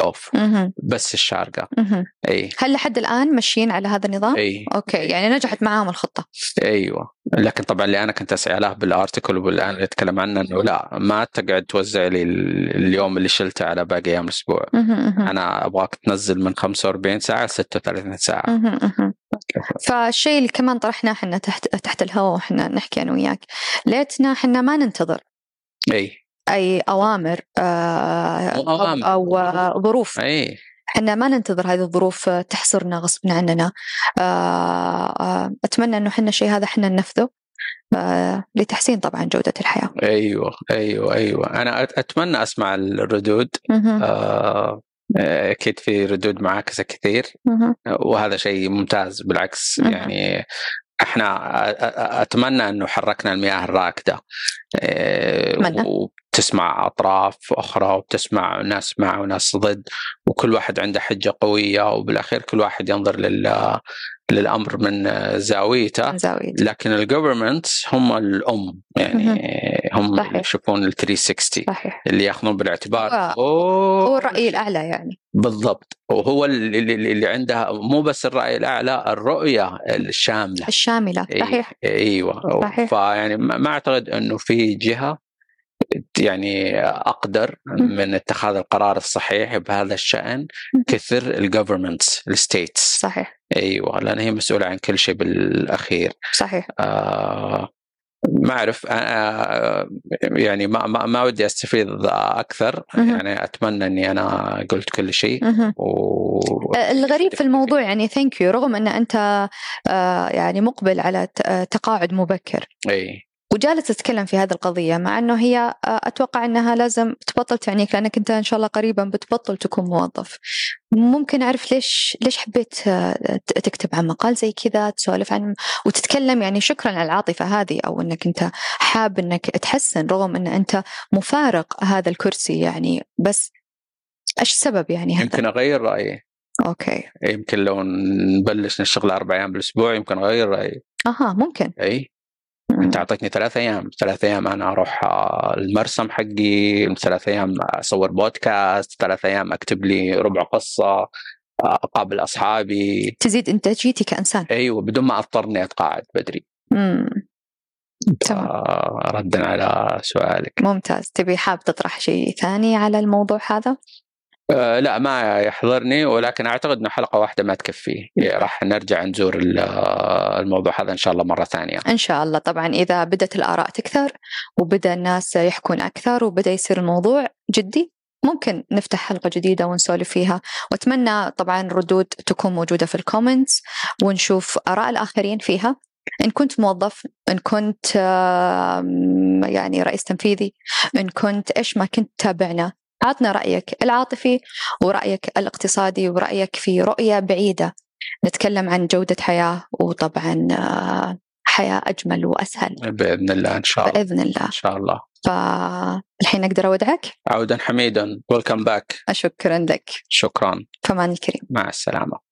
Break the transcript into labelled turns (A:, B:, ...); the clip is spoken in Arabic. A: اوف
B: مهم.
A: بس الشعر قاع
B: مهم. إيه.
A: اي
B: هل لحد الان ماشيين على هذا النظام؟
A: اي
B: اوكي يعني نجحت معاهم الخطه
A: ايوه لكن طبعا اللي انا كنت اسعى له بالارتكل والان اللي اتكلم عنه انه لا ما تقعد توزع لي ال- اليوم اللي شلته على باقي ايام الاسبوع
B: مهم. مهم.
A: انا ابغاك تنزل من 45 ساعه ل 36 ساعه
B: مهم. مهم. فالشيء اللي كمان طرحناه احنا تحت تحت الهواء واحنا نحكي انا وياك ليتنا احنا ما ننتظر
A: اي
B: اي اوامر آه،
A: مو
B: أو-
A: أوامر.
B: او آه، ظروف
A: اي
B: احنا ما ننتظر هذه الظروف آه، تحصرنا غصب عننا آه، آه، اتمنى انه احنا شيء هذا احنا ننفذه آه، لتحسين طبعا جوده الحياه
A: ايوه ايوه ايوه انا أت- اتمنى اسمع الردود
B: مهم.
A: آه، آه، اكيد في ردود معاكسه كثير
B: مهم.
A: وهذا شيء ممتاز بالعكس
B: مهم.
A: يعني احنا أ- أ- اتمنى انه حركنا المياه الراكده إيه،
B: أتمنى.
A: وبتسمع اطراف اخرى وبتسمع ناس مع وناس ضد وكل واحد عنده حجه قويه وبالاخير كل واحد ينظر لل للامر من زاويته
B: من زاوية
A: لكن الجفرمنت هم الام
B: مهم.
A: يعني هم
B: صحيح.
A: اللي يشوفون ال 360
B: صحيح
A: اللي ياخذون بالاعتبار
B: هو-
A: أوه،
B: هو الراي الاعلى يعني
A: بالضبط وهو اللي, اللي اللي عندها مو بس الرأي الأعلى الرؤية الشاملة
B: الشامله
A: إي-
B: صحيح
A: ايوه
B: صحيح.
A: فيعني ما ما اعتقد انه في جهه يعني اقدر من اتخاذ القرار الصحيح بهذا الشان
B: مم.
A: كثر الجفرمنتس الستيتس
B: صحيح
A: ايوه لان هي مسؤوله عن كل شيء بالاخير
B: صحيح
A: آه ما اعرف آه يعني ما ما, ما ودي استفيض اكثر
B: مهم.
A: يعني اتمنى اني انا قلت كل شيء
B: مهم.
A: إيه.
B: آه،
A: و
B: الغريب في الموضوع يعني ثانك يو رغم ان انت آه، يعني مقبل على ت- آه، تقاعد مبكر
A: اي
B: وجالس تتكلم في هذه القضية مع أنه هي آه، أتوقع أنها لازم تبطل تعنيك لأنك أنت إن شاء الله قريبا بتبطل تكون موظف ممكن أعرف ليش ليش حبيت آه، ت- تكتب عن مقال زي كذا تسولف عن وتتكلم يعني شكرا على العاطفة هذه أو أنك أنت حاب أنك تحسن رغم أن أنت مفارق هذا الكرسي يعني بس إيش السبب يعني هذا؟
A: يمكن اغير رايي
B: أوكي
A: يمكن لو نبلش نشتغل اربع ايام بالاسبوع يمكن اغير رايي
B: أها ممكن
A: اي
B: مم.
A: انت اعطيتني ثلاث ايام ثلاث ايام انا اروح آه، المرسم حقي ثلاث ايام اصور بودكاست ثلاث ايام اكتب لي ربع قصه آه، اقابل اصحابي
B: تزيد انتاجيتي كانسان
A: ايوه بدون ما اضطر اني اتقاعد بدري
B: مم. تمام
A: آه، ردا على سؤالك
B: ممتاز تبي حاب تطرح شيء ثاني على الموضوع هذا
A: آه، لا ما يحضرني ولكن اعتقد انه حلقه واحده ما تكفي إيه، راح نرجع نزور ال- آه، الموضوع هذا ان شاء الله مره ثانيه
B: ان شاء الله طبعا اذا بدت الاراء تكثر وبدا الناس يحكون اكثر وبدا يصير الموضوع جدي ممكن نفتح حلقه جديده ونسولف فيها واتمنى طبعا ردود تكون موجوده في الكومنتس ونشوف اراء الاخرين فيها ان كنت موظف ان كنت آم، يعني رئيس تنفيذي ان كنت ايش ما كنت تابعنا عطنا رايك العاطفي ورايك الاقتصادي ورايك في رؤيه بعيده نتكلم عن جوده حياه وطبعا آه، حياه اجمل واسهل
A: باذن الله ان شاء الله
B: باذن الله
A: ان شاء الله
B: فالحين اقدر اودعك
A: عودا حميدا ويلكم باك
B: شكرا لك
A: شكرا
B: فمان الكريم
A: مع السلامه